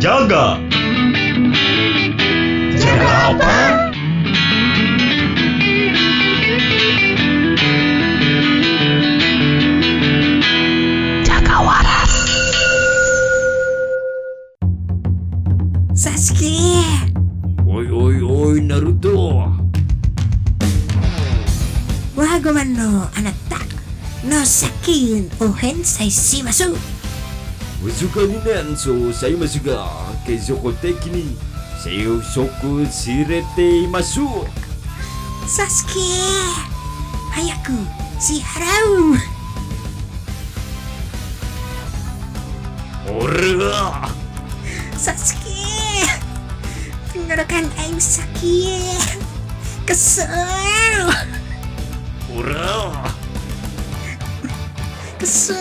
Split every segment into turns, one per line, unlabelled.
Jaga. Jaga apa?
Jaga waras. Sasuke,
Oi oi oi Naruto.
我がまのあなたの作品を返済しましょう。
Wasuka ni Nanso saya masuka ke Zokotek ni. Saya soku sirete masuk.
サスケ早く支払う
Ora.
サスケ Tenggorokan Aing sakit Kesel
Ora.
Kesel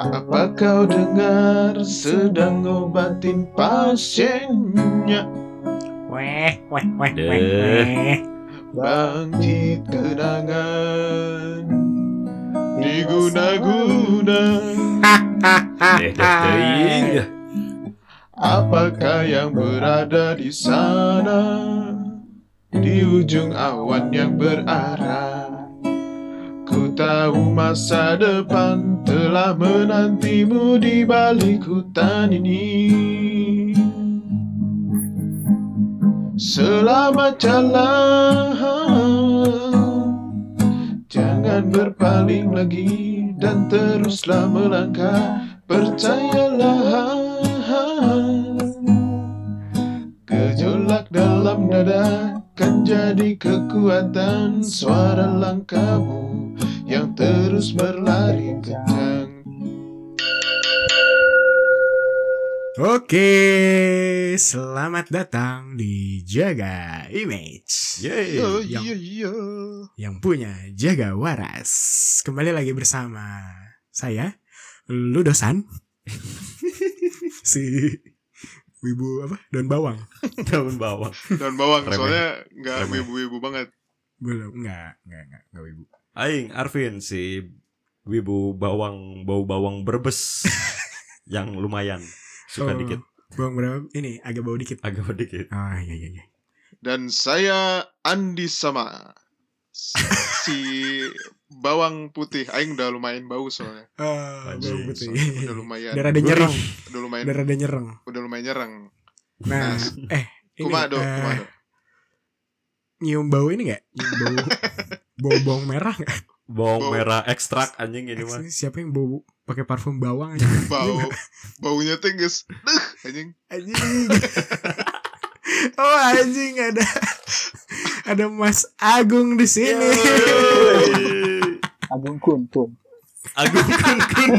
Apa kau dengar sedang ngobatin pasiennya?
Weh, weh, weh,
Deh.
weh, weh.
Bangkit kenangan diguna-guna.
Deh deh deh.
Apakah yang berada di sana? Di ujung awan yang berarah. Ku tahu masa depan telah menantimu di balik hutan ini. Selamat jalan. Jangan berpaling lagi dan teruslah melangkah Percayalah Gejolak dalam dada kan jadi kekuatan Suara langkahmu yang terus berlari kencang
Oke, selamat datang di Jaga Image.
Ya.
Eh,
Yeay.
yang-
iya
Yang punya Jaga Waras. Kembali lagi bersama saya Ludosan. si Wibu apa? Daun bawang.
Daun bawang.
Daun bawang
Remeh.
soalnya nggak
Remeh.
wibu-wibu banget
Belum, enggak, enggak, enggak, enggak Wibu.
Aing Arvin si wibu bawang bau bawang berbes yang lumayan suka
Oh,
dikit
Bawang berapa? Ini agak bau dikit.
agak dikit.
Ah, iya iya iya.
Dan saya Andi Sama. Si bawang putih aing udah lumayan bau soalnya.
Ah,
Anjing,
bau betul.
Soalnya udah lumayan.
Darah ada nyerang,
Udah lumayan
darah ada nyerang.
udah lumayan nyerang.
Nah, eh ini
Kumado,
eh,
kumado.
nyium bau ini nggak? Nyium bau bau bawang merah nggak?
Oh.
Bawang
Bau.
merah ekstrak anjing ini mah.
Ini siapa yang bau pakai parfum bawang aja?
Bau baunya tuh guys. Duh, anjing.
Anjing. oh anjing ada ada Mas Agung di sini.
Yeay.
Agung Kuntun.
Agung kun kun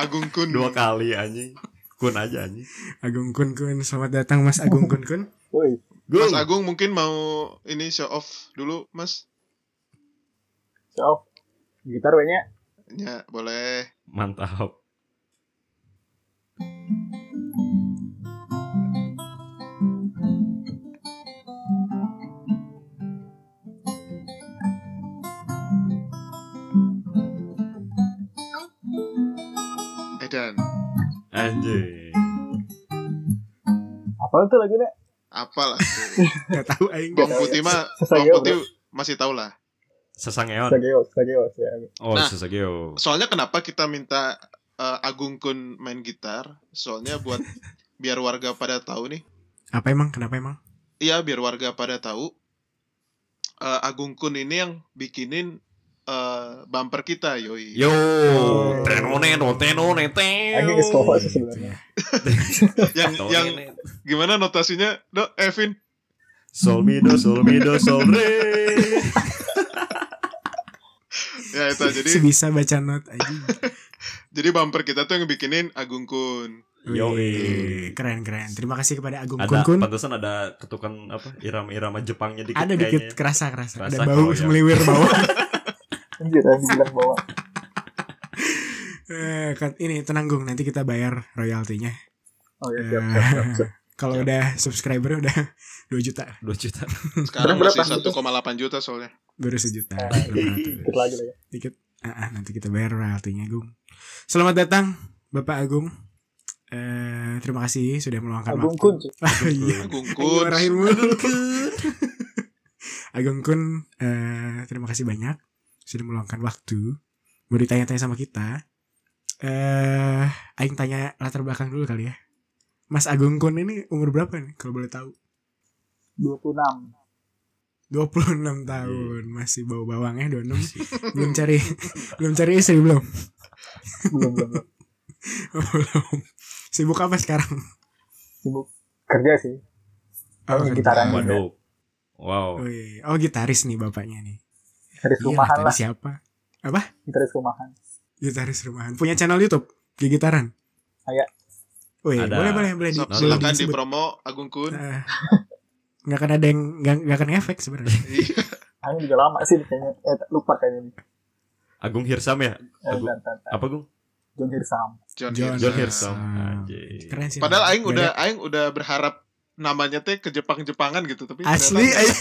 Agung Kun.
dua kali anjing. Kun aja anjing.
Agung Kun Kun, selamat datang Mas Agung Kun Kun.
Woi,
Mas
Gung.
Agung mungkin mau ini show off dulu, Mas.
so gitar banyak.
Ya, boleh.
Mantap.
Edan,
Anjing.
Apa tuh lagunya?
apalah.
Gak tahu aing.
Bawang putih mah,
Sesageo,
bawang putih masih tau lah.
Sesangeon.
Sageos, Sageos ya.
Oh,
Nah.
sesageo.
Soalnya kenapa kita minta eh, Agung Kun main gitar? Soalnya buat biar warga pada tahu nih.
Apa emang? Kenapa emang?
Iya, biar warga pada tahu. eh, Agung Kun ini yang bikinin eh, bumper kita, yoi.
Yo, tenone no tenone teo.
Aku ke
Oh,
Gitu
sekolah sih
ya.
sebenarnya.
Yang yang gimana notasinya? Do, Evin.
sol mi do sol mi do sol re.
Ya itu jadi
Sebisa baca not anjing.
jadi bumper kita tuh yang bikinin Agung Kun.
Yo, eh.
Wih, keren keren. Terima kasih kepada Agung
Ada
Kun Kun.
pantesan ada ketukan apa irama-irama Jepangnya dikit
Ada
kayaknya.
dikit kerasa kerasa.
Kerasa
Ada bau
kalau ya. yang-
meliwir bawah.
Anjir, yang dibilang bawa.
Eh, kat- ini tenang Gung, nanti kita bayar royaltinya. Hmm.
Oh ya, siap, siap, siap, siap.
Kalau udah subscriber udah 2 juta,
2 juta.
Sekarang masih
Berapa?
1,8 juta soalnya.
baru sejuta.
Ah,
Belum ada tuh.
Dikit lagi lagi.
Dikit. Ah, ah, nanti kita bayar royaltinya, Agung. Selamat datang Bapak Agung. Eh, terima kasih sudah meluangkan
Agung
waktu.
Kun. cuy.
Ah, iya.
Agung
Agung
Kun.
Rahim. Agung Kun, eh, terima kasih banyak sudah meluangkan waktu. Mau ditanya-tanya sama kita. Eh, aing tanya latar belakang dulu kali ya. Mas Agung Kun ini umur berapa nih kalau boleh tahu?
26.
26
Iya.
tahun, masih bau bawangnya 26. belum cari belum cari istri belum?
Belum belum. belum.
belum. Sibuk apa sekarang?
Sibuk kerja sih.
Oh,
Main
kerja.
gitaran.
Waduh. Wow.
Oh, iya. Oh, gitaris nih bapaknya nih.
Dari
Iya,
rumahan
tadi
lah.
siapa?
Dari rumahan.
Gitaris rumahan. Punya channel YouTube Gigitaran.
Ada.
Oh iya,
Ada.
boleh boleh boleh.
So-
boleh
Silakan kan di
disebut.
promo Agung Kun.
Eh, nggak akan ada yang nggak nggak akan efek sebenarnya.
Iya.
Angin juga lama sih kayaknya. Eh lupa kayaknya nih.
Agung Hirsam ya?
Eh,
Agung-
ntar, ntar, ntar.
Apa Gung?
John Hirsam.
John,
John Iya.
John
Hirsam.
Hirsam. Anjay.
Keren sih.
Iya. Padahal aing
Nggak
udah
ada-
aing udah berharap namanya teh ke Jepang-Jepangan gitu tapi
asli
ternyata-
aing.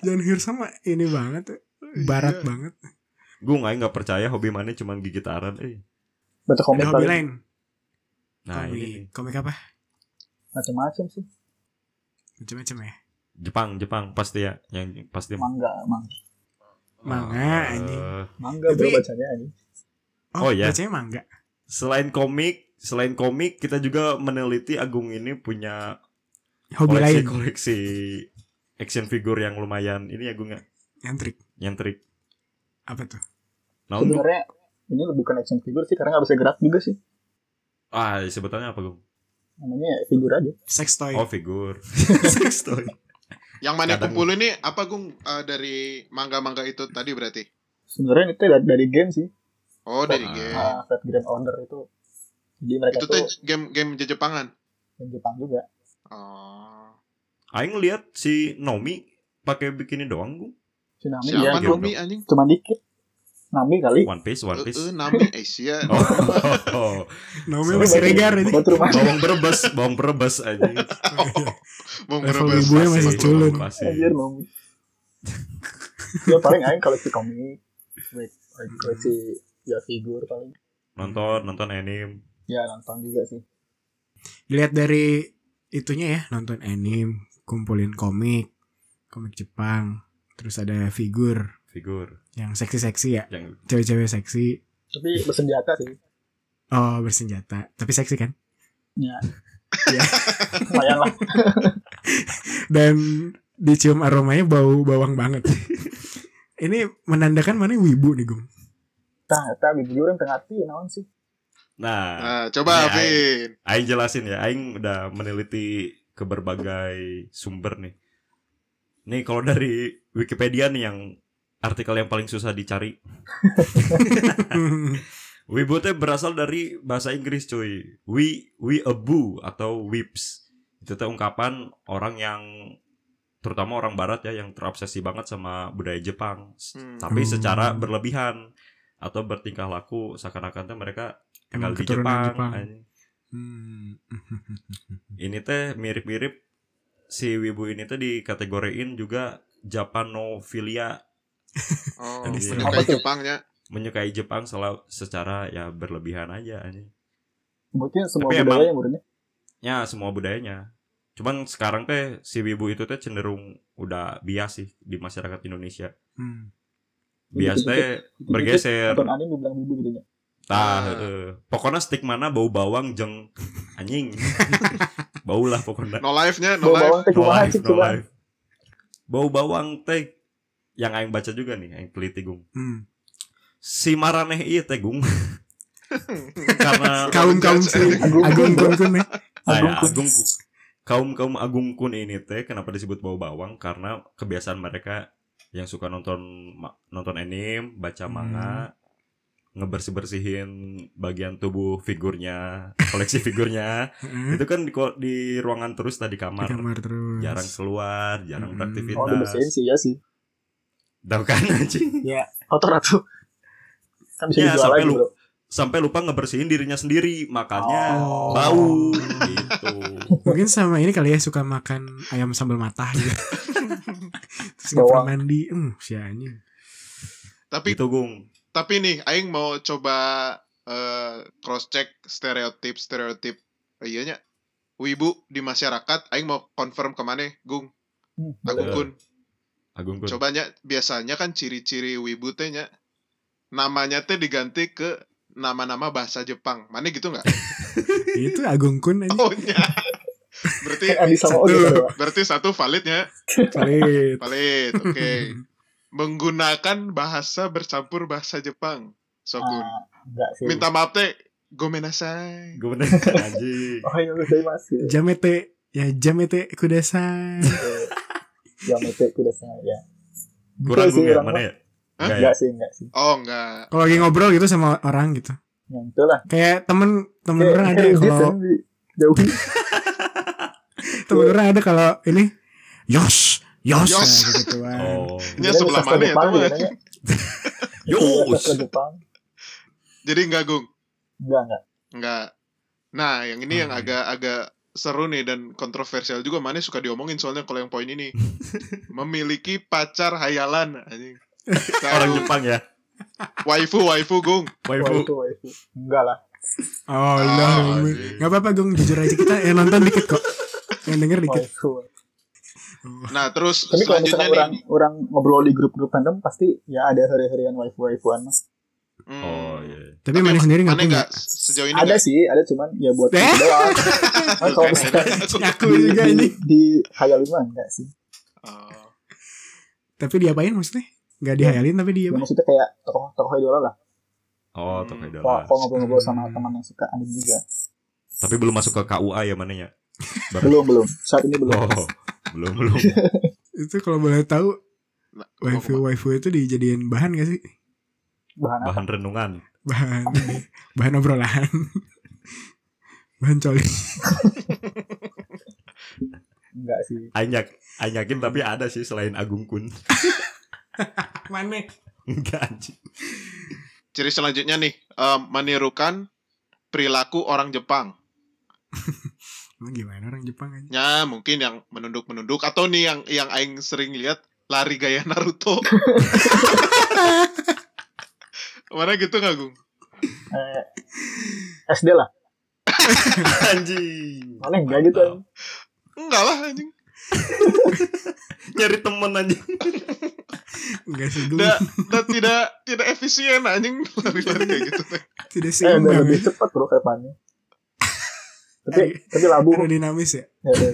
John Hirsam mah ini banget, tuh. barat
Iya.
banget.
Gung aing nggak percaya hobi mana cuman gigitaran eh.
Baca
Ada
komik
hobi
paling
lain.
Nah,
komik,
ini nih.
komik apa?
macam-macam sih.
Macam-macam ya.
Jepang, Jepang pasti ya. Yang pasti
Mangga, mangga.
Manga,
Eh,
anjing.
Mangga
Tapi-
bro bacanya anjing.
Oh,
Oh, iya.
Bacanya mangga.
Selain komik, selain komik kita juga meneliti Agung ini punya
Hobi lain.
koleksi action figure yang lumayan ini ya Gung ya.
Nyantrik.
Nyentrik.
Apa tuh?
Nah, untuk
Sebenarnya ini lebih bukan action figure sih karena nggak bisa gerak juga sih.
ah sebutannya apa Gung?
Namanya ya figur aja.
Sex toy.
Oh, figur. Sex toy.
Yang mana
Kadang-
kumpulin nih apa Gung Eh, dari mangga-mangga itu tadi berarti?
Sebenarnya itu dari, dari game sih.
Oh, dari
Ah.
game.
Nah, Fat Grand Order itu. Jadi mereka
Itu
tuh
teh game game Jepangan.
yang Jepang juga.
Oh.
Aing lihat si Nomi pakai bikini doang Gung.
Tsunami ya,
Siapa
game
cuma,
Nomi anjing?
cuma dikit. Nami kali.
One Piece, One
Eh, eh,
Piece.
Nami Asia.
Oh, oh, oh.
Namanya masih regar ini.
Buat rumah.
bawang berebes, bawang berebes aja.
Mau
Level
ngerebas.
ibunya masih culun.
Anjir Nomi. ya paling aing koleksi komik. Baik, baik, koleksi ya figur paling.
Nonton, nonton anime.
Ya nonton juga sih.
Dilihat dari itunya ya, nonton anime, kumpulin komik, komik Jepang, terus ada figur
Figur
yang seksi-seksi ya,
yang
cewek-cewek seksi,
Tapi bersenjata sih.
oh bersenjata, tapi seksi kan?
Ya.
Ya.
Lumayan lah.
Dan dicium aromanya bau bawang banget. Ini menandakan mana wibu nih Gung.
Tah, tah bibir orang tengah hati naon sih.
Nah,
Nah, coba
Iya,
Vin.
aing jelasin ya. Aing udah meneliti ke berbagai sumber nih. Nih kalau dari Wikipedia nih yang artikel yang paling susah dicari. Wibu teh berasal dari bahasa Inggris cuy. We we atau whips. Itu teh ungkapan orang yang terutama orang barat ya yang terobsesi banget sama budaya Jepang. S-
Hmm.
Tapi
Hmm.
secara berlebihan atau bertingkah laku seakan-akan teh mereka tinggal
Emang
di
keturunan
Jepang.
Jepang.
anjing.
Hmm.
Ini teh mirip-mirip si wibu ini teh dikategorein juga Japanophilia
Oh,
Aduh,
menyukai
apa tuh?
Jepangnya.
menyukai Jepang selalu secara ya berlebihan aja anjing.
Mungkin semua
Tapi
budaya yang muridnya.
ya semua budayanya cuman sekarang teh si wibu itu teh cenderung udah bias sih di masyarakat Indonesia
Hmm.
bias teh bergeser
Nonton anime bilang bibu gitu ya.
tah eh. pokoknya stigma na bau bawang jeng anjing bau lah pokoknya
No life-nya, no
Bawa
life.
bawang teh
no
kumaha
life
sih
no
kumaha.
life bau bawang teh yang aing baca juga nih aing teliti gung
Hmm.
si maraneh iya teh gung karena
Kaum kaum si
Agung
Agung Kun Kun ya.
Agung,
Agung Kun.
agung kaum kaum agung kun ini teh kenapa disebut bau bawang karena kebiasaan mereka yang suka nonton ma- nonton anime
Hmm.
baca manga ngebersih bersihin bagian tubuh figurnya koleksi figurnya
Heeh.
itu kan di, ko- di ruangan terus tadi
Hmm? Di
kamar,
kamar terus.
jarang keluar jarang
Hmm.
Oh dibersihin
beraktivitas
sih ya sih.
Tahu kan anjing
Kotor atuh. Kan bisa
Ya,
dijual
sampai
lagi
lu-
bro.
sampai lupa ngebersihin dirinya sendiri makanya
Oh.
bau gitu
Mungkin sama ini kali ya suka makan ayam sambal matah gitu. Terus nggak pernah
Bawang.
mandi, hmm, si anjing.
Tapi
Gitu Gung.
tapi nih aing mau coba cross check stereotip stereotip iya nya wibu di masyarakat aing mau confirm ke mana Gung
Hmm,
Agung
boleh.
Kun
Agung Kun.
Coba nya biasanya kan ciri-ciri wibu teh nya namanya teh diganti ke nama-nama bahasa Jepang. Mana gitu nggak?
Ya Itu Agung Kun aja
Oh nya. Berarti
Andi sama
Satu.
Ogi gitu Pak.
berarti satu validnya
valid.
valid. Oke. Menggunakan bahasa bercampur bahasa Jepang. Sokun.
Ah, Enggak sih.
Minta maaf teh gomenasai.
Gue bener anjing.
Oh iya, saya masih.
Jamete, ya jamete kudasai.
Yang itu udah saya ya.
Kurang
Itu sih
Gung ya
orang
mana
mah.
ya?
Hah?
Enggak ya?
Enggak sih, enggak sih.
Oh enggak.
Kalau lagi ngobrol gitu sama orang gitu.
Yang itu lah.
Kayak temen temen
Kayak-
orang ada
Iya,
kayak
kalau
gitu, Bi. jauhi.
temen orang ada kalau ini yos yos,
iya. Yos.
Nah, gitu kan.
Oh.
Nya sebelah
Sastra
mana ya
Jepang
teman?
gitu nanya.
Yos.
Sastra Jepang.
Jadi enggak Gung.
Enggak, enggak.
Enggak. Nah, yang ini yang
Hmm.
agak-agak seru nih dan kontroversial juga Mane suka diomongin soalnya kalau yang poin ini memiliki pacar hayalan anjing.
Orang
Tahu
Jepang ya.
waifu waifu gung.
Wah,
Waifu.
itu, wah, itu. Enggak lah.
Oh,
Ah,
Allah.
anjing.
Gak apa-apa, Gung. Jujur aja kita yang nonton dikit kok. Yang denger
Wah,
dikit.
itu.
Nah, terus
Tapi kalau
selanjutnya
misalnya
nih.
orang orang ngobrol di grup-grup fandom pasti ya ada hari-harian waifu-waifuan mas.
Hmm.
Oh iya.
Tapi mana sendiri gak
Mane
punya.
nggak sejauh ini
Ada
enggak.
sih, ada cuman ya buat
Eh?
itu doang. Kan kalau misalnya
Aku
di,
juga
di,
ini.
di hayalin mah enggak sih.
Tapi diapain maksudnya? Gak
Iya.
dihayalin tapi dia
Ya, maksudnya kayak tokoh-tokoh idola lah.
Oh,
Hmm.
Tokyo
Kalau
Dollar.
kalau ngobrol-ngobrol sama
Hmm.
teman yang suka anime juga.
Tapi belum masuk ke KUA ya mananya?
Belum, belum. Saat ini belum.
Oh, belum belum.
Itu kalau boleh tahu
waifu.
waifu-waifu itu dijadiin bahan gak sih?
Bahan apa?
Bahan renungan.
Bahan bahan obrolan. bahan coli.
Enggak sih.
Aing yak- aing yakin tapi ada sih selain Agung Kun.
Mana?
Enggak anjing.
Ciri selanjutnya nih, em, menirukan perilaku orang Jepang.
Emang gimana orang Jepang aja?
Ya, mungkin yang menunduk-menunduk atau nih yang yang aing sering lihat lari gaya Naruto. Mana gitu nggak Gung?
Eh, SD lah.
Anjing.
Mana enggak gitu.
Mantap.
Enggak lah anjing.
Nyari temen anjing.
Enggak sih, Gung.
Da, da tidak tidak efisien anjing lari-lari kayak gitu teh.
Tidak
Eh, udah
seimbang.
lebih
ya.
cepat bro ke depannya.
Ayo.
Tapi, tapi labu.
Ada dinamis ya?
Ya, ya.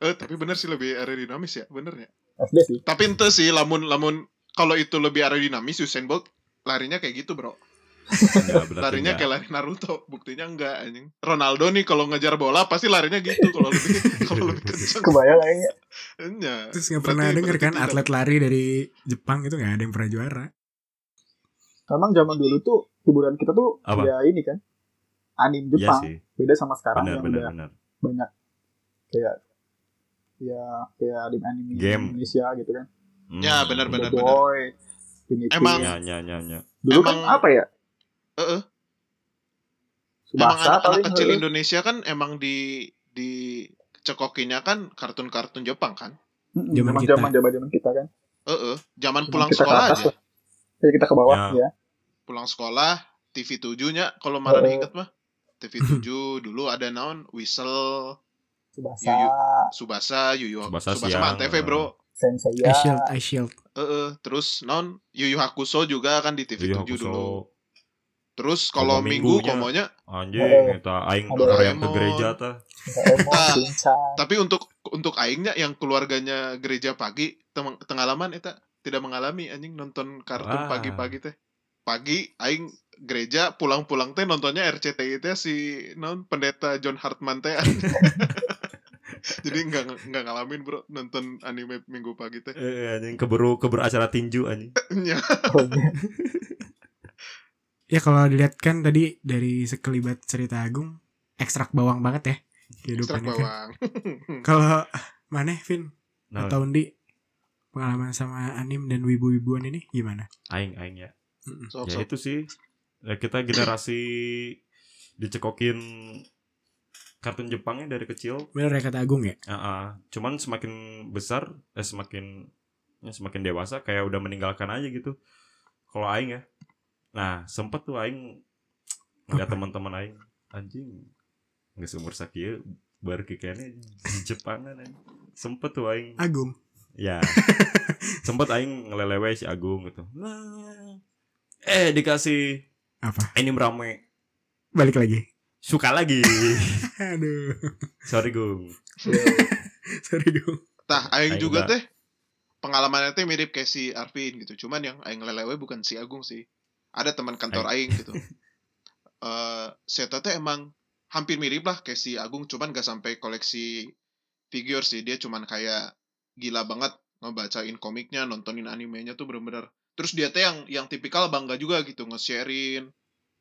Eh, tapi bener sih lebih aerodinamis ya, bener ya.
SD sih.
Tapi ente sih lamun lamun kalau itu lebih aerodinamis Usain Bolt larinya kayak gitu, Bro.
Enggak berarti.
Larinya
enggak.
kayak lari Naruto, buktinya enggak anjing. Ronaldo nih kalau ngejar bola pasti larinya gitu kalau lebih kalau lebih kenceng. Iya.
Kebayang kayaknya.
Enya.
Terus gak pernah
Berarti-
denger kan
berarti tidak.
atlet lari dari Jepang itu gak ada yang pernah juara.
Memang zaman dulu tuh hiburan kita tuh
Apa?
ya ini kan. Anim
Iya
Jepang.
sih.
Beda sama sekarang
Benar
yang
benar
udah
benar.
banyak kayak ya kayak anime anime
Game.
Indonesia gitu kan.
Hmm.
Ya, benar, benar.
The Boy. Phoenix
Emang-
Wright.
Ya ya ya ya.
dulu kan
emang-
apa ya?
Heeh. Emang
Subasa
anak,
paling
anak kecil
heeh.
Indonesia kan emang di di cekokinya kan kartun-kartun Jepang kan.
Mm-mm,
Zaman
Emang
kita.
zaman zaman zaman kita kan.
Heeh, zaman
Cuman
pulang
Hmm, kita ke
sekolah
atas
aja.
lah. Jadi kita ke bawah ya.
pulang sekolah TV 7-nya kalau marah
Heeh.
inget mah TV 7 dulu ada naon Whistle
Subasa,
Yuyu. Subasa Yu Yu
Tsubasa siang.
mah antv bro
Ice
Ya. Iya.
Senseiya,
shield, ice shield.
Heeh, terus naon Yu Yu Hakusho juga kan di TV
Iya,
7
Hokusho.
dulu terus kalau
Komo
minggu
Minggunya.
komonya
Anjing, kita aing
Ada
orang yang ke
Doraemon.
gereja tah.
Doraemon,
Ah.
Shinchan.
tapi untuk untuk aingnya yang keluarganya gereja pagi teng- tengalaman eta tidak mengalami anjing nonton kartun
Wah.
pagi-pagi teh pagi aing gereja pulang-pulang teh nontonnya RCTI teh si non pendeta John Hartman teh jadi nggak nggak ngalamin bro nonton anime minggu pagi teh
Eh anjing keburu keburu acara tinju anjing.
Ya,
Oh, iya.
Ya kalau dilihat kan tadi dari sekelibat cerita Agung, ekstrak bawang banget ya
ekstrak
kehidupannya kan.
bawang
Kalau mana Vin
Nah,
atau Undi pengalaman sama anim dan wibu-wibuan ini gimana?
aing aing ya.
Mm-mm.
sok
ya
sok
itu sih Ya, kita generasi dicekokin kartun Jepangnya dari kecil
Bener ya kata Agung ya?
Heeh. cuman semakin besar eh semakin ya, semakin dewasa kayak udah meninggalkan aja gitu. Kalau aing ya. Nah, sempet tuh aing ngeliat
Apa?
teman-teman aing anjing nggak seumur sakieu baru kayaknya di Jepangan anjing. Sempet tuh aing.
Agung.
Ya. sempet aing ngelelewe si Agung gitu. Nah. Eh dikasih
Apa?
ini rame
Balik lagi.
suka lagi.
Aduh.
Sorry Gung.
Sorry dong.
Tah,
Aing
aing juga
juga.
teh pengalamannya teh mirip kayak si Arvin gitu. Cuman yang aing lelewe bukan si Agung sih. Ada teman kantor aing, gitu. Eh, si Eta teh emang hampir mirip lah kayak si Agung, cuman gak sampai koleksi figur sih. Dia cuman kayak gila banget ngebacain komiknya, nontonin animenya tuh bener-bener. Terus dia teh yang yang tipikal bangga juga gitu nge-sharein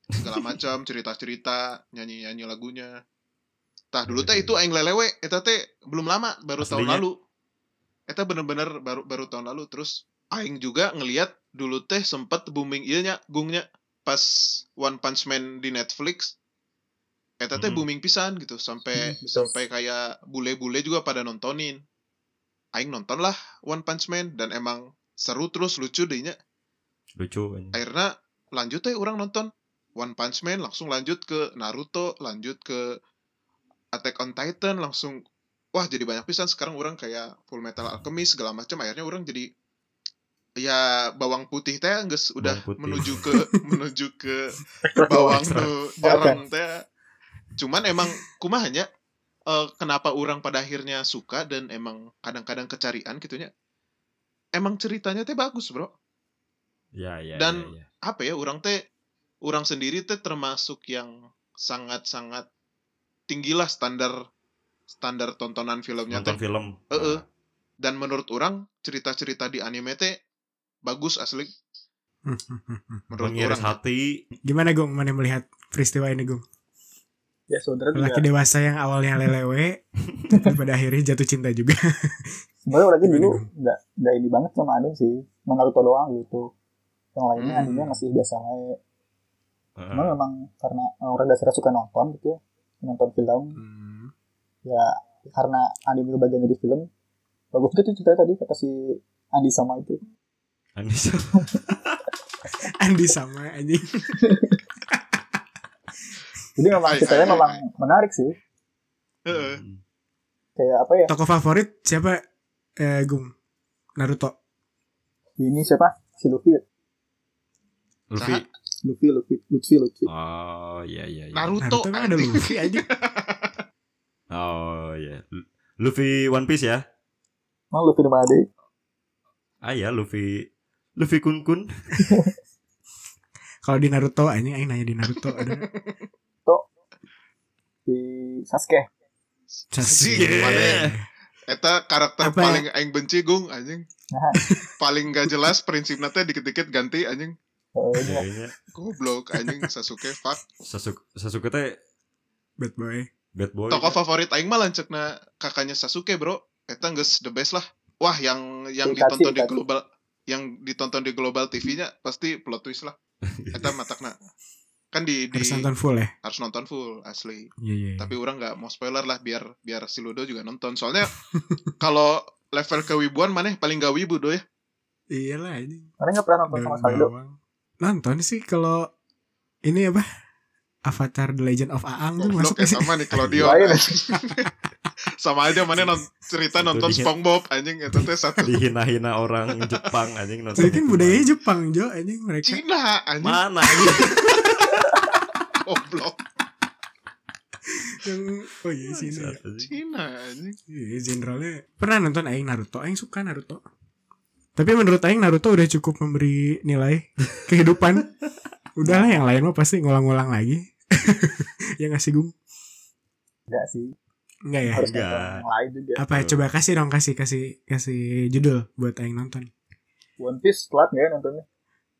segala macam cerita-cerita, nyanyi-nyanyi lagunya. Tah dulu teh itu aing lelewe, eta teh belum lama, baru tahun
Aslinya?
lalu. Eta bener-bener baru baru tahun lalu terus aing juga ngeliat dulu teh sempet booming ieu nya gungnya pas One Punch Man di Netflix. Eta teh
Mhm.
booming pisan gitu sampai sampai kayak bule-bule juga pada nontonin. Aing nonton lah One Punch Man dan emang seru terus lucu dehnya.
Lucu anjing.
Akhirnya lanjut teh orang nonton One Punch Man langsung lanjut ke Naruto, lanjut ke Attack on Titan langsung wah jadi banyak pisan sekarang orang kayak Full Metal Alchemist segala macam akhirnya orang jadi ya bawang putih teh geus udah
Bawang putih.
menuju ke menuju ke bawang nu jarang teh cuman emang kumahnya eh, kenapa orang pada akhirnya suka dan emang kadang-kadang kecarian gitunya emang ceritanya teh bagus bro
Ya, ya,
Dan-
ya, ya.
apa ya orang teh orang sendiri teh termasuk yang sangat-sangat tinggilah standar standar tontonan filmnya
nonton
teh
film. Nah,
Heeh. dan menurut orang cerita-cerita di anime teh bagus asli menurut
Mengiris
orang
hati
Gimana Gung? Mana melihat peristiwa ini Gung?
ya saudara
Lelaki
juga
dewasa yang awalnya lelewe, tapi pada akhirnya jatuh cinta juga.
sebenarnya lagi
Gimana,
dulu
Gung?
nggak nggak ini banget sama anime sih Emang Naruto doang gitu yang lainnya
Hmm. Ah.
anime masih biasa aja
Heeh.
cuma memang karena orang dasarnya suka nonton gitu ya nonton film
Hmm.
ya karena anime itu bagian dari film bagus gitu tuh ceritanya tadi kata si Andi sama itu
Anissa.
Andi sama anjing.
jadi memang
Hai,
ceritanya
hai,
memang
hai,
menarik sih
Heeh.
Hmm,
kayak apa ya
Tokoh favorit siapa? Eh, Gung. Naruto.
ini siapa si Luffy ya?
Luffy.
Saha?
Luffy Luffy Luffy Luffy
Oh, iya iya. iya.
Naruto,
Naruto kan ada
anjing.
Luffy anjing.
Oh iya. Lu- Luffy One Piece ya?
emang Luffy di mana
Ah ya, Luffy Luffy Kun Kun.
Kalau di Naruto anjing aing nanya di Naruto ada
di Sasuke
Sasuke.
Iya.
Mana? ya? Eta karakter
Apa? ya?
paling aing benci gung anjing.
Nah.
paling gak jelas prinsipnya teh dikit-dikit ganti anjing.
Eh, ini
Kayaknya
Goblok anjing Sasuke fuck.
Sasuke Sasuke teh
Bad boy.
bad boy.
Tokoh
ya.
favorit aing mah lancekna kakaknya Sasuke, Bro. Eta geus the best lah. Wah, yang yang
Itachi,
ditonton di
Itachi.
global yang ditonton di global TV-nya pasti plot twist lah. Eta matakna. Kan di, di
Harus nonton full ya.
harus nonton full asli.
Iya iya.
Tapi orang nggak mau spoiler lah biar biar si Ludo juga nonton. Soalnya kalau level kewibuan maneh paling gak wibu do ya.
Iyalah anjing.
karena nggak pernah nonton
Daun
sama sekali Dok.
bawang. Nonton sih kalau ini apa? Avatar The Legend of Aang tuh
Goblok
masuk gak
ya
sih?
sama nih Claudio.
Lain.
Sama aja maneh non- cerita
Itu
nonton
dia.
SpongeBob anjing eta teh satu
dihina-hina orang Jepang anjing nonton.
Tapi kan
itu,
budayanya
man.
Jepang Jo anjing mereka.
Cina anjing
Mana anjing?
goblok
Yang oh iya sih ini.
Cina anjing.
Iya, generalnya. Pernah nonton aing Naruto, aing suka Naruto. Tapi menurut aing Naruto udah cukup memberi nilai kehidupan. Udahlah yang lain mah pasti ngulang-ngulang lagi. ya ngasih gung.
enggak sih
Enggak ya.
harus
Enggak.
nonton yang lain juga
Apa coba kasih dong kasih kasih kasih judul buat aing nonton.
One Piece telat nggak ya nontonnya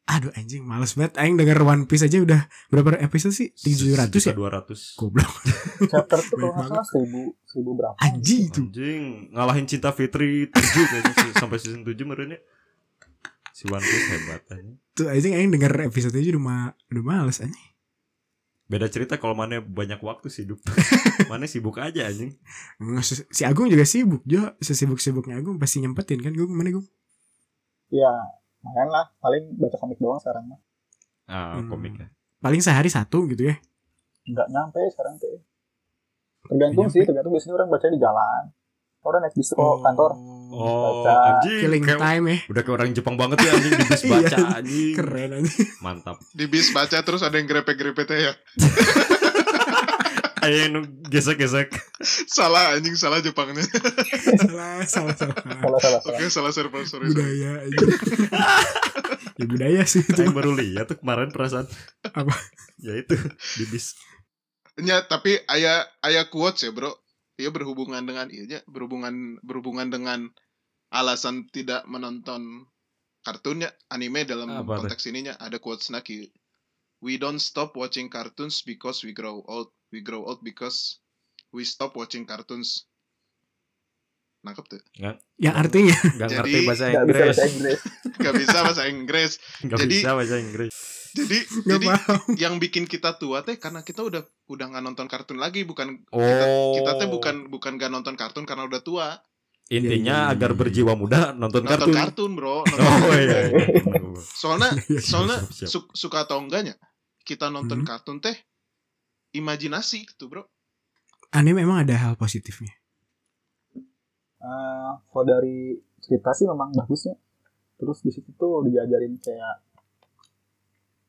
Aduh anjing males banget Aing denger One Piece aja udah Berapa episode sih? 700 ya?
200.
Goblok
chapter tuh kalau
Banyak
nggak salah seribu seribu berapa
Anjing itu
Anjing ngalahin cinta Fitri 7 kayaknya sih, sampai season 7 merenya. Si One Piece hebat anjing.
Tuh anjing Aing denger episode aja udah, ma udah males anjing
Beda cerita kalau mana banyak waktu sibuk. mana sibuk aja anjing.
Nggak, si- Si Agung juga sibuk Jo Sesibuk-sibuknya Agung Pasti nyempetin kan Gung mana Gung
Ya, main lah. Paling baca komik doang sekarang mah.
Ah,
Hmm.
komik ya.
Paling sehari satu gitu ya
Nggak nyampe ya sekarang tuh. Tergantung
Nggak
sih,
nyampe.
tergantung biasanya orang baca di jalan. Orang naik bis ke kantor.
Oh,
Baca.
anjing.
Killing
kayak-
time ya
udah kayak orang Jepang banget ya anjing di bis baca
Iya.
anjing.
Keren aja
Mantap.
Di bis baca terus ada yang grepe-grepe teh ya.
Ayo nu gesek-gesek.
Salah anjing, salah Jepangnya.
Salah Salah Salah
Salah, salah, salah.
Oke, salah server, sorry. sorry.
Budaya aja Ya budaya sih itu
Saya baru lihat tuh kemarin perasaan.
Apa?
Ya itu di bis.
Nya, tapi ayah ayah quotes ya, Bro. Iya berhubungan dengan iya, nya, berhubungan berhubungan dengan alasan tidak menonton kartunnya anime dalam
Apa tuh?
konteks ininya ada quotes Naki. We don't stop watching cartoons because we grow old. We grow old because we stop watching cartoons. Nangkep tuh.
Yang Ya, artinya
Gak ngerti
Jadi,
bahasa
Nggak bisa
Inggris.
baca Inggris.
Gak bisa bahasa Inggris.
Gak
Jadi-
bisa bahasa Inggris.
Jadi
Gak
jadi
paham
yang bikin kita tua teh karena kita udah udah nggak nonton kartun lagi bukan
Oh.
kita teh bukan bukan gak nonton kartun karena udah tua
intinya
Iya, iya,
agar
iya.
berjiwa muda nonton,
nonton
kartun.
kartun, bro Nonton
Oh
kartun.
iya. iya.
soalnya
Iya,
soalnya
siap, siap. Hmm.
su- suka atau enggaknya kita nonton
Mhm.
kartun teh imajinasi gitu bro
Aneh memang ada hal positifnya
Eh, kalau dari cerita sih memang bagusnya. Terus di situ tuh diajarin kayak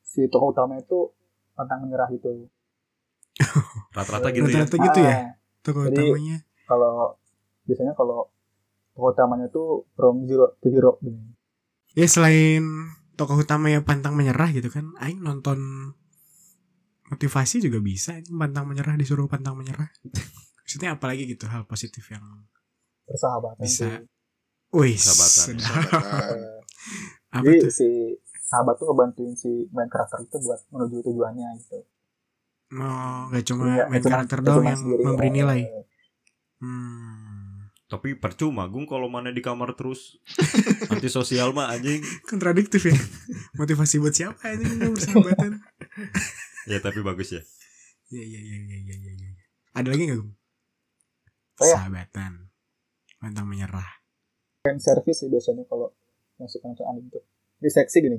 si tokoh utama itu pantang menyerah gitu.
Rata-rata gitu ya.
Rata-rata gitu ya
Ah,
Tokoh
Jadi-
utamanya
kalau biasanya kalau tokoh utamanya tuh from zero to hero gitu.
Ya selain Tokoh utama yang pantang menyerah gitu kan Aing nonton Motivasi juga bisa anjing, Pantang menyerah disuruh pantang menyerah Maksudnya apalagi gitu hal positif yang
persahabatan
Bisa.
sih.
Wih
Persahabatan.
ya.
sedap.
Sahabat.
Eh,
Apa
jadi
tuh
si sahabat tuh ngebantuin si main karakter itu buat menuju tujuannya gitu.
Oh, gak cuma
Iya,
main
cuma-
karakter doang
cuma
yang
sendiri,
memberi
eh,
nilai. Hmm.
Tapi percuma Gung kalau mana di kamar terus antisosial mah anjing.
Kontradiktif ya. Motivasi buat siapa ini nggak bersahabatan?
Ya tapi bagus ya.
Iya iya iya iya iya iya. Ya. Ada lagi nggak Gung?
Oh, ya.
Persahabatan. Pantang menyerah.
Fan service sih biasanya kalau yang suka nonton anime tuh. Ini seksi gini.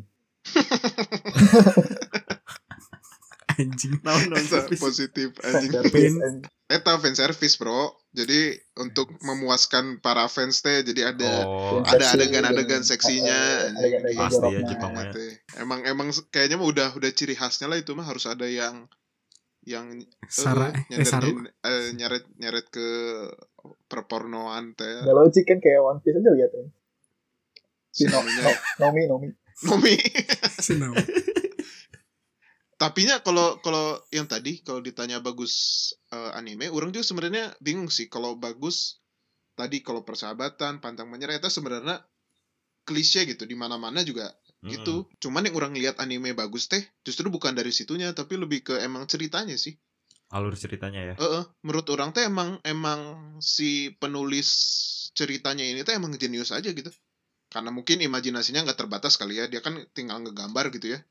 Anjing.
Eta positif
Fan
anjing
service.
Pin.
and-
Eta fan service bro jadi untuk memuaskan para fans teh jadi ada
Oh,
Ada-
anjing.
ada adegan-adegan seksinya
Eh, adegan-adegan
anjing.
Pasti ya,
joroknya.
Jepang mah.
Teh. emang emang se- kayaknya mah udah udah ciri khasnya lah itu mah harus ada yang yang
Sara
eh,
eh Saru.
nyandarin, eh, nyeret nyeret ke perpornoan teh
Nggak logik kan kayak One Piece aja lihat ya. Si no,
Sebenarnya.
no, Nomi, Nomi.
Nomi
Senang.
tapinya kalau kalau yang tadi kalau ditanya bagus eh, anime orang juga sebenarnya bingung sih kalau bagus tadi kalau persahabatan pantang menyerah itu sebenarnya klise gitu di mana mana juga gitu cuman yang orang lihat anime bagus teh justru bukan dari situnya tapi lebih ke emang ceritanya sih
Mm-mm. Alur ceritanya ya.
Eh, eh, menurut orang teh emang emang si penulis ceritanya ini teh emang jenius aja gitu karena mungkin imajinasinya nggak terbatas kali ya dia kan tinggal ngegambar gitu ya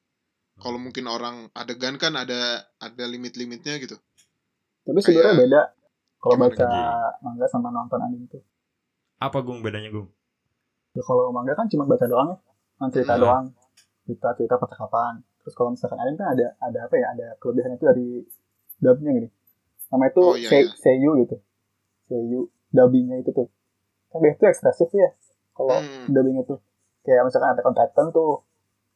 kalau
Hmm.
mungkin orang adegan kan ada ada limit-limitnya gitu
Tapi sebenarnya
Kayak-
beda kalau
Iya. Gimana
baca
gitu?
manga sama nonton anime tuh.
Apa Gung bedanya Gung?
Ya, kalau manga kan cuma baca doang ya, kan
Iya.
cerita
Hmm.
doang, cerita cerita percakapan. Terus kalau misalkan anime kan ada ada apa ya, ada kelebihannya itu dari dubnya gini. Namanya itu
Oh, iya,
se-
iya.
seiyu gitu, seiyu dubbingnya itu tuh. Kan biasanya itu ekspresif ya, kalau
Hmm.
dubbing itu. Kayak misalkan ada on Titan tuh,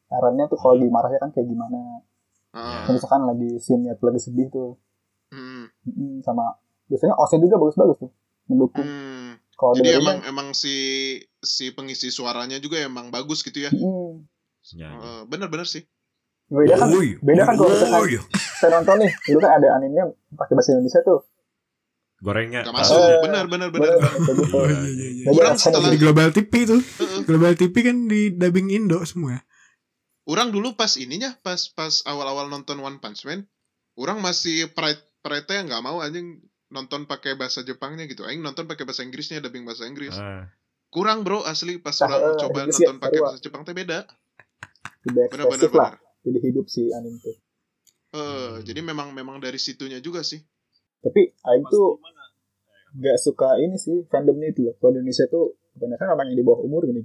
caranya tuh kalau dimarahnya kan kayak gimana.
Ah,
Kalau misalkan lagi scene-nya tuh lagi sedih tuh,
hmm,
Mm, sama biasanya OC juga bagus-bagus tuh mendukung
hmm.
kalau kan,
jadi
dengerin
emang emang si si pengisi suaranya juga emang bagus gitu ya
kan, mm,
Ya, ya.
Eh, bener-bener sih
beda kan
Oi,
beda kan kalau misalkan-
oi.
saya nonton nih dulu kan ada animenya pakai bahasa Indonesia tuh
Gorengnya.
nggak
tas.
masuk
Eh,
bener-bener bener
bener kayak gitu
Oh
Iya,
iya
iya.
iya iya.
Jadi
Orang
rasanya
setelah-
Di
gitu.
Global TV tuh.
Heeh.
Global TV kan di dubbing Indo semua.
orang dulu pas ininya pas pas awal-awal nonton One Punch Man orang masih pride pride yang nggak mau anjing nonton pakai bahasa Jepangnya gitu aing nonton pakai bahasa Inggrisnya dubbing bahasa Inggris
Ah,
kurang bro asli pas
Nah,
orang
eh,
coba
Inggris ya,
nonton pakai
kedua.
bahasa Jepang teh beda
lebih ekspresif
bener-bener
lah
bener
jadi hidup si anime tuh
Eh, jadi memang memang dari situnya juga sih.
Tapi Aing tuh nggak suka ini sih fandomnya itu loh. Kalau di Indonesia tuh kebanyakan orang yang di bawah umur gini,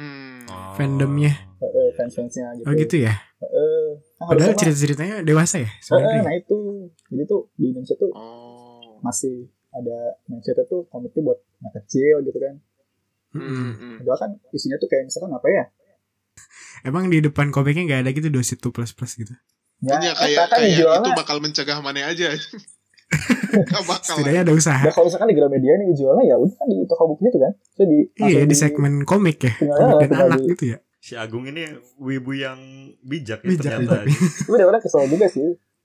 Hmm.
Oh. Ah.
Fandomnya.
Eh, eh, fans-fansnya gitu.
Oh gitu ya.
Eh, eh. Nah, harusnya
Padahal
mah-
cerita-ceritanya dewasa ya
Eh, eh,
sebenarnya.
nah itu. Jadi tuh di Indonesia tuh
Oh.
masih ada mindset tuh komiknya buat anak kecil gitu kan.
Mm-mm.
Hmm, hmm.
Padahal kan isinya tuh kayak misalkan apa ya?
Emang di depan komiknya nggak ada gitu dosis two plus plus gitu.
Iya kayak
kan
kayak
dijualnya-
itu bakal mencegah mana aja. Gak bakal.
Setidaknya ada usaha.
Ya kalau misalkan di Gramedia nih dijualnya ya udah kan di toko bukunya tuh kan. Jadi
Iya di segmen komik ya,
Tinggal-
komik dan
tinggal
anak
di-
gitu ya.
Si Agung ini wibu yang bijak ya
Bijak,
ternyata.
udah orang kesel juga sih.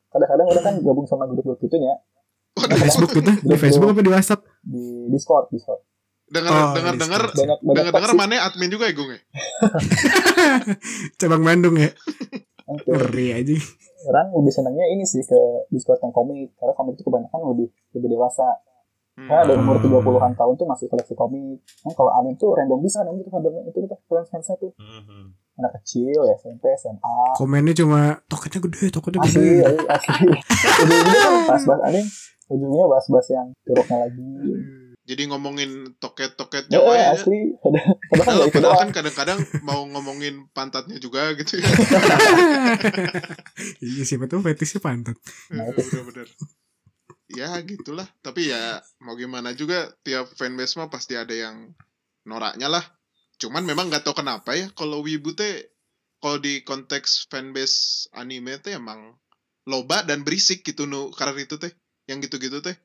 Kadang-kadang orang kan gabung sama grup-grup gitu ya
Di
Waduh,
Facebook gitu, di Facebook apa di WhatsApp?
di Discord, Discord.
dengar
Oh,
dengar
iya,
dengar
iya.
Banyak banyak
dengar dengar
toxic.
mana admin juga ya Gung ya?
Cabang Bandung ya,
Oke.
ngeri aja.
Orang lebih senangnya ini sih ke Discord yang komik karena komik itu kebanyakan lebih lebih dewasa.
Hmm.
Karena ada umur
Hmm.
30-an tahun tuh masih koleksi komik. Kan kalau anime tuh random bisa kan, anime tuh fandomnya itu tuh fans-fansnya tuh
Mhm.
anak kecil ya SMP, SMA.
Komennya cuma tokennya gede, tokennya
Asli,
gede.
asli, asli. iya, Ujung-ujungnya kan bahas-bahas anime, ujungnya bahas-bahas yang joroknya lagi.
Jadi ngomongin toket-toket
Ya,
Jawa ya.
asli. Ada, ada kan
Padahal
nggak ikut
padahal
doang.
kan kadang-kadang mau ngomongin pantatnya juga gitu ya.
Iya siapa tuh fetishnya pantat.
Nah, itu.
Iya, Bener-bener. Ya gitulah. Tapi ya mau gimana juga tiap fanbase mah pasti ada yang noraknya lah. Cuman memang nggak tahu kenapa ya kalau Wibu teh kalau di konteks fanbase anime teh emang loba dan berisik gitu nu karar itu teh yang gitu-gitu teh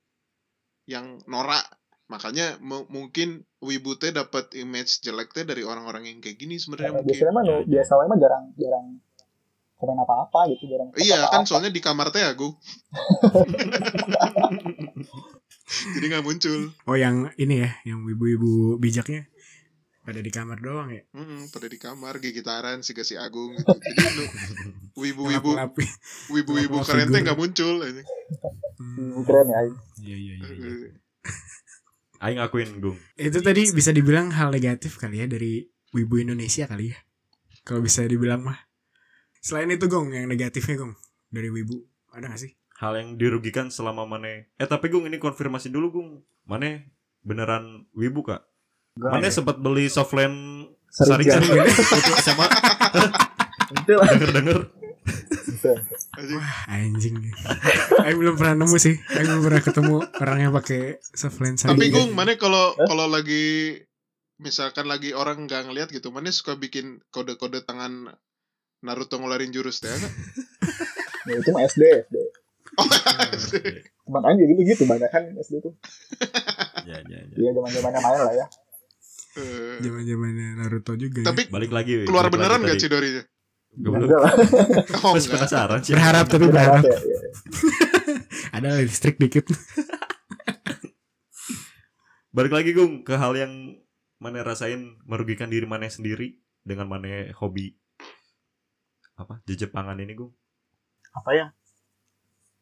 yang norak makanya mu- mungkin Wibu teh dapat image jelek teh dari orang-orang yang kayak gini sebenarnya
Eh,
mungkin
Biasanya mah nu- biasa wae mah jarang jarang komen apa-apa gitu, jarang.
Iya kan
apa-apa.
soalnya di kamar teh aku. Jadi nggak muncul.
Oh yang ini ya, yang ibu-ibu bijaknya pada di kamar doang ya.
Mm-mm, pada di kamar gigitaran si si Agung gitu. Jadi lu wibu-wibu
Ngelap-ngelapin.
wibu-wibu
ngelap-ngelap
keren teh
figur.
nggak muncul anjing.
Hmm, keren ya.
Iya iya iya. iya.
Aing akuin Gung.
Itu tadi bisa dibilang hal negatif kali ya dari wibu Indonesia kali ya. Kalau bisa dibilang mah. Selain itu gong yang negatifnya gong dari wibu ada gak sih?
Hal yang dirugikan selama mana Eh tapi Gung ini konfirmasi dulu Gung. Mana beneran wibu kak?
Enggak,
Mana
ya?
sempat beli softland
Sering
Saringan
jarang.
waktu SMA
Itu lah.
ya. denger-denger.
Bisa.
Anjing.
Anjing. Aku belum pernah nemu sih. Aku belum pernah ketemu orang yang pakai gitu. soft lens.
iya
Tapi
saringan.
Gung, mana kalau
Hah?
kalau lagi misalkan lagi orang nggak ngeliat gitu, mana suka bikin kode-kode tangan Naruto ngeluarin jurus teh. kan?
Ya, itu mah SD, SD.
Iya,
Teman aja gitu gitu banyak kan SD tuh.
Ya, ya, ya.
Iya zaman-zamannya main lah ya.
Eh,
Zaman-zamannya Naruto juga. ya.
Tapi
Balik lagi. we.
keluar
Balik
beneran
lagi
nggak
tadi.
Cidorinya?
Goblok.
Enggak lah.
Oh,
Mas
enggak.
penasaran sih.
ya. Berharap tapi
Beneran
berharap
ya, iya.
ada listrik dikit.
Balik lagi Gung ke hal yang mana rasain merugikan diri mana sendiri dengan mana hobi apa jejepangan ini Gung.
Apa ya?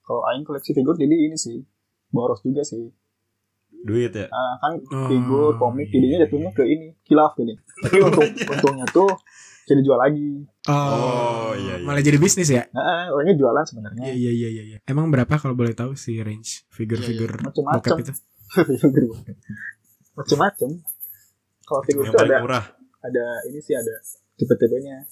Kalau Aing koleksi figur jadi ini sih boros juga sih.
Duit ya.
Ah, kan
Oh,
figur komik
iya,
jadinya
iya,
jatuhnya ke ini kilaf ini. Tapi untung, untungnya tuh jadi jual lagi.
Oh, iya, Oh. iya.
Malah jadi bisnis ya?
Nah, orangnya jualan sebenarnya.
Iya iya iya iya. iya. Emang berapa kalau boleh tahu si range figure-figure
Iya,
Macem-macem.
bokep itu?
macem-macem kalau figur
Yang
itu
paling
ada
murah
ada ini sih ada tipe-tipenya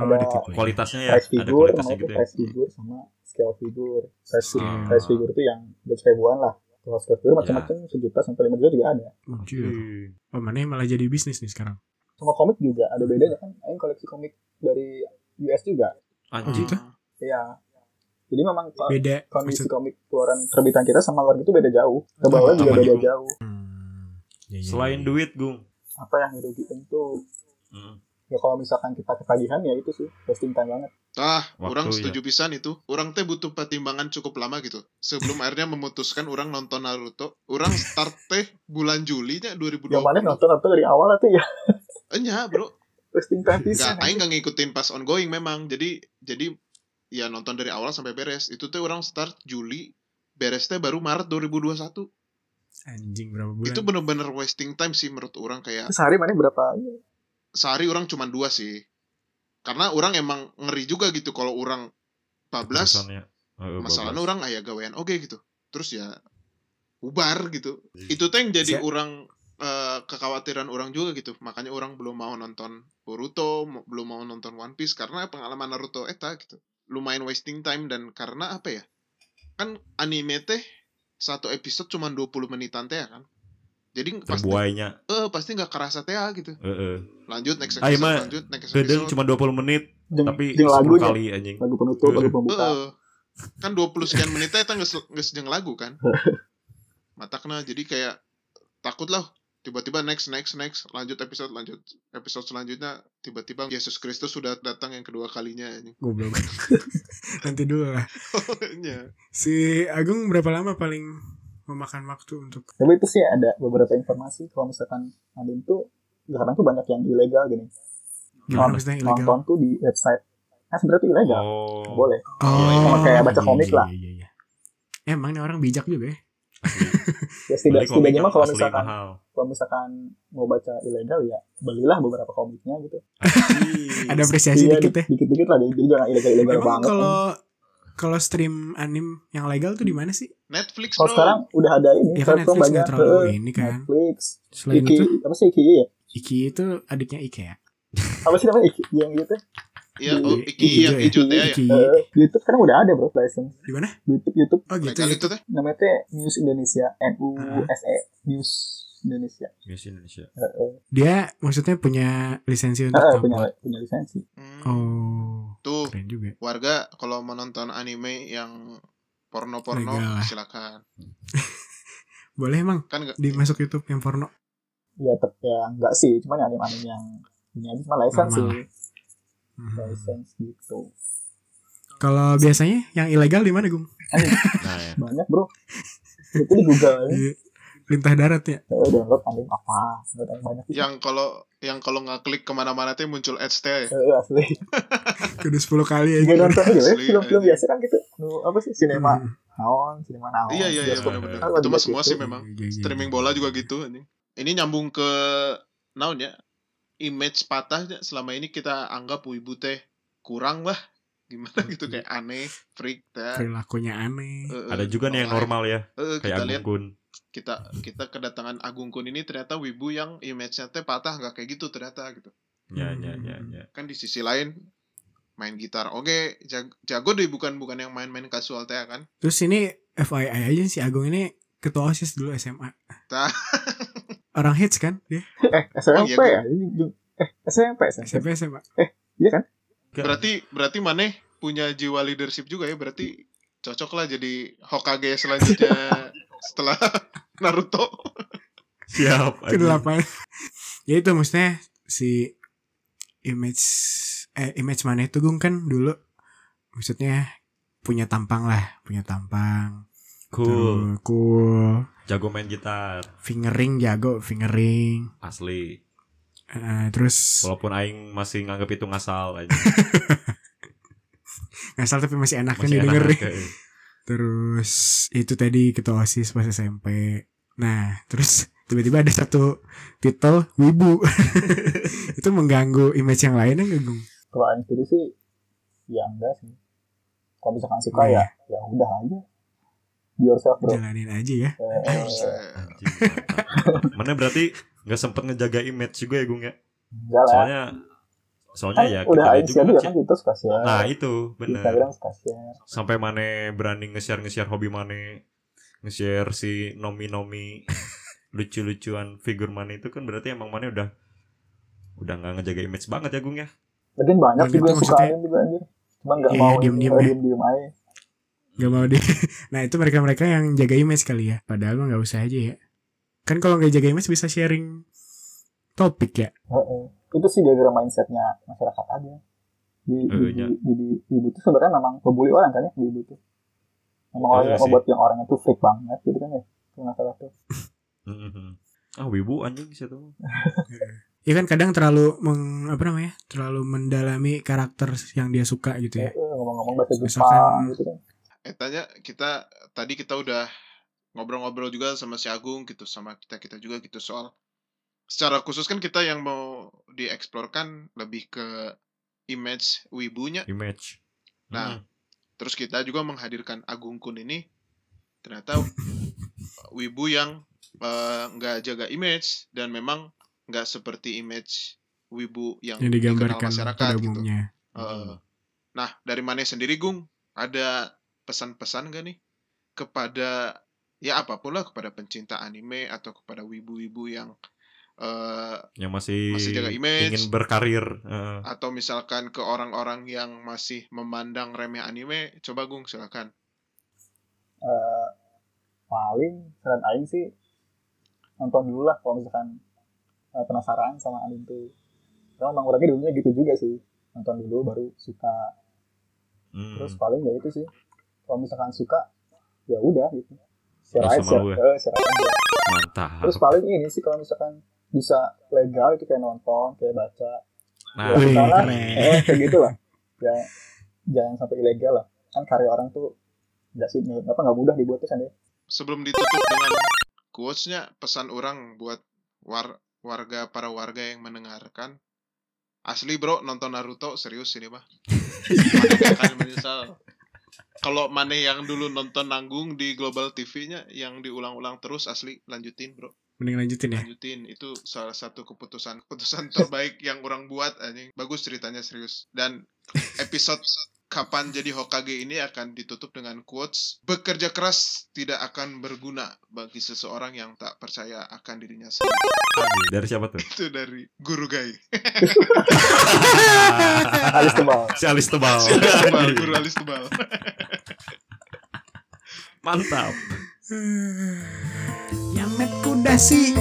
Oh, ada
Ada-
iya.
tipenya.
kualitasnya ya.
price
Ada
figure
kualitasnya
maupun
gitu ya. Hmm.
price figure sama scale figure size figure
Scale.
size figure itu yang dua ribuan lah kalau scale
Iya.
figure macam-macam sejuta sampai lima juta juga ada
Anjir.
Ih,
Oh, mana malah jadi bisnis nih sekarang.
sama komik juga ada bedanya kan Aing koleksi komik dari US juga
Anjing.
Oh,
Gitu?
Iya jadi memang ko-
Beda
kondisi
maksud.
komik keluaran terbitan kita sama luar itu beda jauh ke bawah
Sama
juga beda
juga.
jauh
Hmm, iya, iya,
Selain
iya.
duit Gung.
apa yang dirugikan tuh
Hmm.
ya kalau misalkan kita ketagihan ya itu sih wasting time banget
Ah,
Waktu
orang
ya.
setuju pisan itu. Orang teh butuh pertimbangan cukup lama gitu. Sebelum akhirnya memutuskan orang nonton Naruto, orang start teh bulan Julinya
yang
2020.
mana nonton nonton dari awal tuh ya
Enya, bro.
Wasting time
Enggak,
pisan.
aing nggak ngikutin pas ongoing memang. Jadi jadi ya nonton dari awal sampai beres. Itu teh orang start Juli, beres teh baru Maret 2021.
Anjing berapa bulan?
Itu bener-bener wasting time sih menurut orang kayak
Itu sehari mana berapa?
sehari orang cuma dua sih karena orang emang ngeri juga gitu kalau orang bablas
Kesannya, eh, bablas.
masalahnya orang ayah gawean oke gitu terus ya ubar gitu
Iya.
itu teh yang jadi
Saya-
orang eh, kekhawatiran orang juga gitu makanya orang belum mau nonton Boruto mo- belum mau nonton One Piece karena pengalaman Naruto eta gitu lumayan wasting time dan karena apa ya kan anime teh satu episode cuma 20 menitan teh kan jadi pasti
terbuainya
eh pasti nggak kerasa teh gitu
heeh.
lanjut next
Ah, iya,
episode
mah.
lanjut next
Bedeng
episode
cuma 20 menit
Jeng,
tapi
jeng
10
lagunya,
kali anjing.
lagu penutup, lagu pembuka.
Heeh. kan 20 sekian menit teh tangges geus jeung lagu kan. Matakna jadi kayak takut lah tiba-tiba next next next lanjut episode lanjut episode selanjutnya tiba-tiba Yesus Kristus sudah datang yang kedua kalinya ini.
Goblok. Nanti dulu lah.
ya.
Si Agung berapa lama paling memakan waktu untuk
Tapi itu sih ada beberapa informasi kalau misalkan ada itu sekarang tuh banyak yang ilegal gini.
gimana
Nonton.
maksudnya ilegal?
Nonton tuh di website. Nah sebenarnya tuh ilegal,
Oh.
nggak boleh. Sama kayak baca
iya,
komik
iya,
lah.
iya, iya. Emang nih orang bijak juga ya.
Ya
Beli
setidak,
komik
setidaknya mah kalau
asli
misalkan
mahal.
kalau misalkan mau baca ilegal ya belilah beberapa komiknya gitu.
Ada apresiasi
Iya,
dikit ya.
Dikit-dikit lah, jadi jangan ilegal-ilegal
Emang
banget.
kalau kalau stream anim yang legal tuh di mana sih?
Netflix
Kalau
bro.
sekarang udah ada ini,
Ya kan
platform
Netflix nggak terlalu
Heeh,
ini kan.
Eh, Netflix,
Selain
Iki, Iya,
itu,
apa sih Iki ya?
Iki itu adiknya ya? Ikea.
Apa sih namanya Iki yang gitu?
Iya, oh,
Iki
iki yang
hijau
hijau teh ya.
Iki
Eh, YouTube sekarang udah ada bro, license.
di mana?
YouTube, YouTube
Oh gitu.
Legal
ya.
itu teh.
namanya teh News Indonesia, N U S E News Indonesia.
Yes, Indonesia.
Dia maksudnya punya lisensi
Eh,
untuk
eh, punya
upload.
punya lisensi.
Hmm.
Oh,
Tuh,
keren juga.
warga kalau menonton anime yang porno-porno
Legal lah.
silakan.
Boleh emang
Kan nggak-
dimasuk YouTube yang porno.
Ya, ter, ya enggak sih, cuman yang anime-anime yang ini aja cuma license
Normal
sih,
Hmm.
license gitu.
Kalau biasanya yang ilegal di mana, Gung?
Nah, ya.
Banyak bro. Itu di Google,
Di lintah darat ya.
Eh, download anime apa, download yang banyak. sih.
yang kalau yang kalau nggak klik kemana-mana teh muncul ads teh. ya.
Eh, asli.
Udah 10 kali
Gue
aja.
nonton aja ya,
Iya, Asli, iya.
film-film
asli.
biasa kan gitu. Nu, apa sih sinema
Hmm.
naon, sinema naon.
Iya iya iya
bioskop
benar-benar.
kan
Itu
lebih
mah
gitu.
semua sih memang.
Iya, iya, iya.
streaming bola juga gitu anjing. Ini nyambung ke naon ya? Image patahnya selama ini kita anggap wibu teh kurang lah. Gimana
Iya.
gitu kayak aneh, freak teh.
Perilakunya aneh.
Ada juga nih yang normal ya,
kita
kayak
lihat
Agung Kun.
kita kita kedatangan Agung Kun ini ternyata wibu yang image-nya teh patah nggak kayak gitu ternyata gitu.
Ya, ya, ya,
Hmm.
ya.
Kan di sisi lain main gitar. Oke, jag- jago deh bukan bukan yang main-main kasual teh kan.
Terus ini FYI aja si Agung ini ketua OSIS dulu SMA.
Tah.
Orang hits kan dia?
Eh, SMP
Oh, iya,
ya? Eh, SMP, SMP.
SMP SMA.
Iya kan?
Ya.
Berarti berarti maneh punya jiwa leadership juga ya berarti cocok lah jadi Hokage selanjutnya setelah Naruto.
Siap.
Iya.
anjing.
Kedelapan. ya itu maksudnya si image eh image mana itu Gung kan dulu maksudnya punya tampang lah, punya tampang.
Cool.
Terus cool.
Jago main gitar
Fingering jago, fingering.
asli.
Eh, terus
Walaupun aing masih nganggap itu ngasal aja.
ngasal tapi masih enak kan
Masih enak
didengerin.
kayak- gitu.
Terus itu tadi ketua OSIS pas SMP. Nah, terus tiba-tiba ada satu titel wibu. itu mengganggu image yang lain enggak, Gung?
Kalau yang sendiri sih, ya enggak sih. Kalau misalkan suka
Iya.
ya, ya udah aja. Be yourself, bro.
Iya,
Jalanin aja ya.
Eh,
Anjing, mantap. Mana berarti nggak sempet ngejaga image juga ya Gung ya?
enggak lah.
Soalnya soalnya
Kan
ya
udah
kitanya
aing share juga kan
ci-
gitu suka share.
Nah itu bener
Instagram suka share.
Sampai mana berani nge-share nge-share hobi mana Nge-share si nomi-nomi Lucu-lucuan figur mana itu kan berarti emang mana udah Udah nggak ngejaga image banget ya Gung ya
Mungkin banyak
Dan
juga
itu
yang suka
maksudnya-
anime juga anjir. Cuma enggak
Iya,
mau
diem-diem ya.
diem aja.
Gak mau deh. Nah, itu mereka-mereka yang jaga image kali ya. Padahal mah nggak usah aja ya. Kan kalau nggak jaga image bisa sharing topik ya.
Heeh. Itu sih gara-gara mindsetnya masyarakat aja. Di,
Eh,
di,
iya.
di, di, ibu itu sebenarnya memang pembuli orang kan ya, di ibu itu. Memang orang
Iya
yang
sih.
obat yang orang itu freak banget gitu kan ya. Itu masalah tuh.
Mhm. Ah wibu anjing situ
Ya kan kadang terlalu meng, apa namanya? Terlalu mendalami karakter yang dia suka
Iya.
gitu ya.
Eh, Ngomong-ngomong bahasa
Misalkan-
Jepang gitu kan.
Eh tanya kita tadi kita udah ngobrol-ngobrol juga sama si Agung gitu sama kita kita juga gitu soal secara khusus kan kita yang mau dieksplorkan lebih ke image wibunya.
Image Hmm.
Hmm.
Nah. Terus kita juga menghadirkan Agung Kun ini ternyata wibu yang eh, nggak jaga image dan memang nggak seperti image wibu yang,
yang
Oh, dikenal
digambarkan pada
gitu.
umumnya. Hmm.
Heeh. Nah, dari mana sendiri, Gung? Ada pesan-pesan gak nih kepada ya apapun lah kepada pencinta anime atau kepada wibu-wibu yang eh
yang masih,
Masih jaga image.
ingin berkarir eh,
atau misalkan ke orang-orang yang masih memandang remeh anime, coba Gung silakan.
Eh, paling saran aing sih nonton dulu lah kalau misalkan eh, penasaran sama anime tuh karena emang orangnya dulunya gitu juga sih nonton dulu baru suka
hmm.
terus paling ya itu sih kalau misalkan suka ya udah gitu share
Nggak usah
aja share,
malu ya.
eh, share aja
mantap
terus paling ini sih kalau misalkan bisa legal itu kayak nonton kayak baca
nah
Wih,
Karena-
keren.
eh, kayak gitu lah ya jangan sampai ilegal lah kan karya orang tuh nggak sih apa nggak mudah dibuatnya kan ya
Sebelum ditutup dengan quotes-nya pesan orang buat war- warga para warga yang mendengarkan. Asli bro, nonton Naruto serius ini mah. Maneh gak akan menyesal. Kalau maneh yang dulu nonton nanggung di Global TV-nya yang diulang-ulang terus asli lanjutin bro,
Mending lanjutin ya.
lanjutin itu salah satu keputusan keputusan terbaik yang orang buat anjing. Bagus ceritanya serius dan episode kapan jadi Hokage ini akan ditutup dengan quotes bekerja keras tidak akan berguna bagi seseorang yang tak percaya akan dirinya sendiri.
dari siapa tuh
Itu dari Guru Gai.
harus tebal
si alis tebal
Si alis tebal, guru alis tebal.
mantap
Yamet kudasi,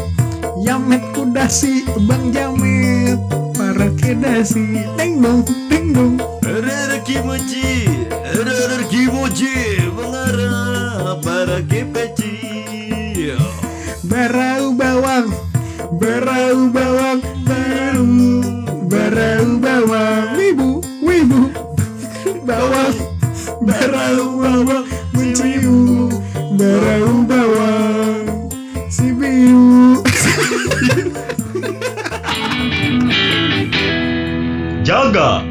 Yamet kudasi, Bang Jamet, para kedasi, ding dong, ding dong.
Rara Kimoji, Rara Kimoji, mengarah para
Iya.
kepeci.
Barau bawang, barau bawang, barau, barau bawang, wibu, wibu, bawang, barau bawang, menciu, barau bawang, si biu.
jaga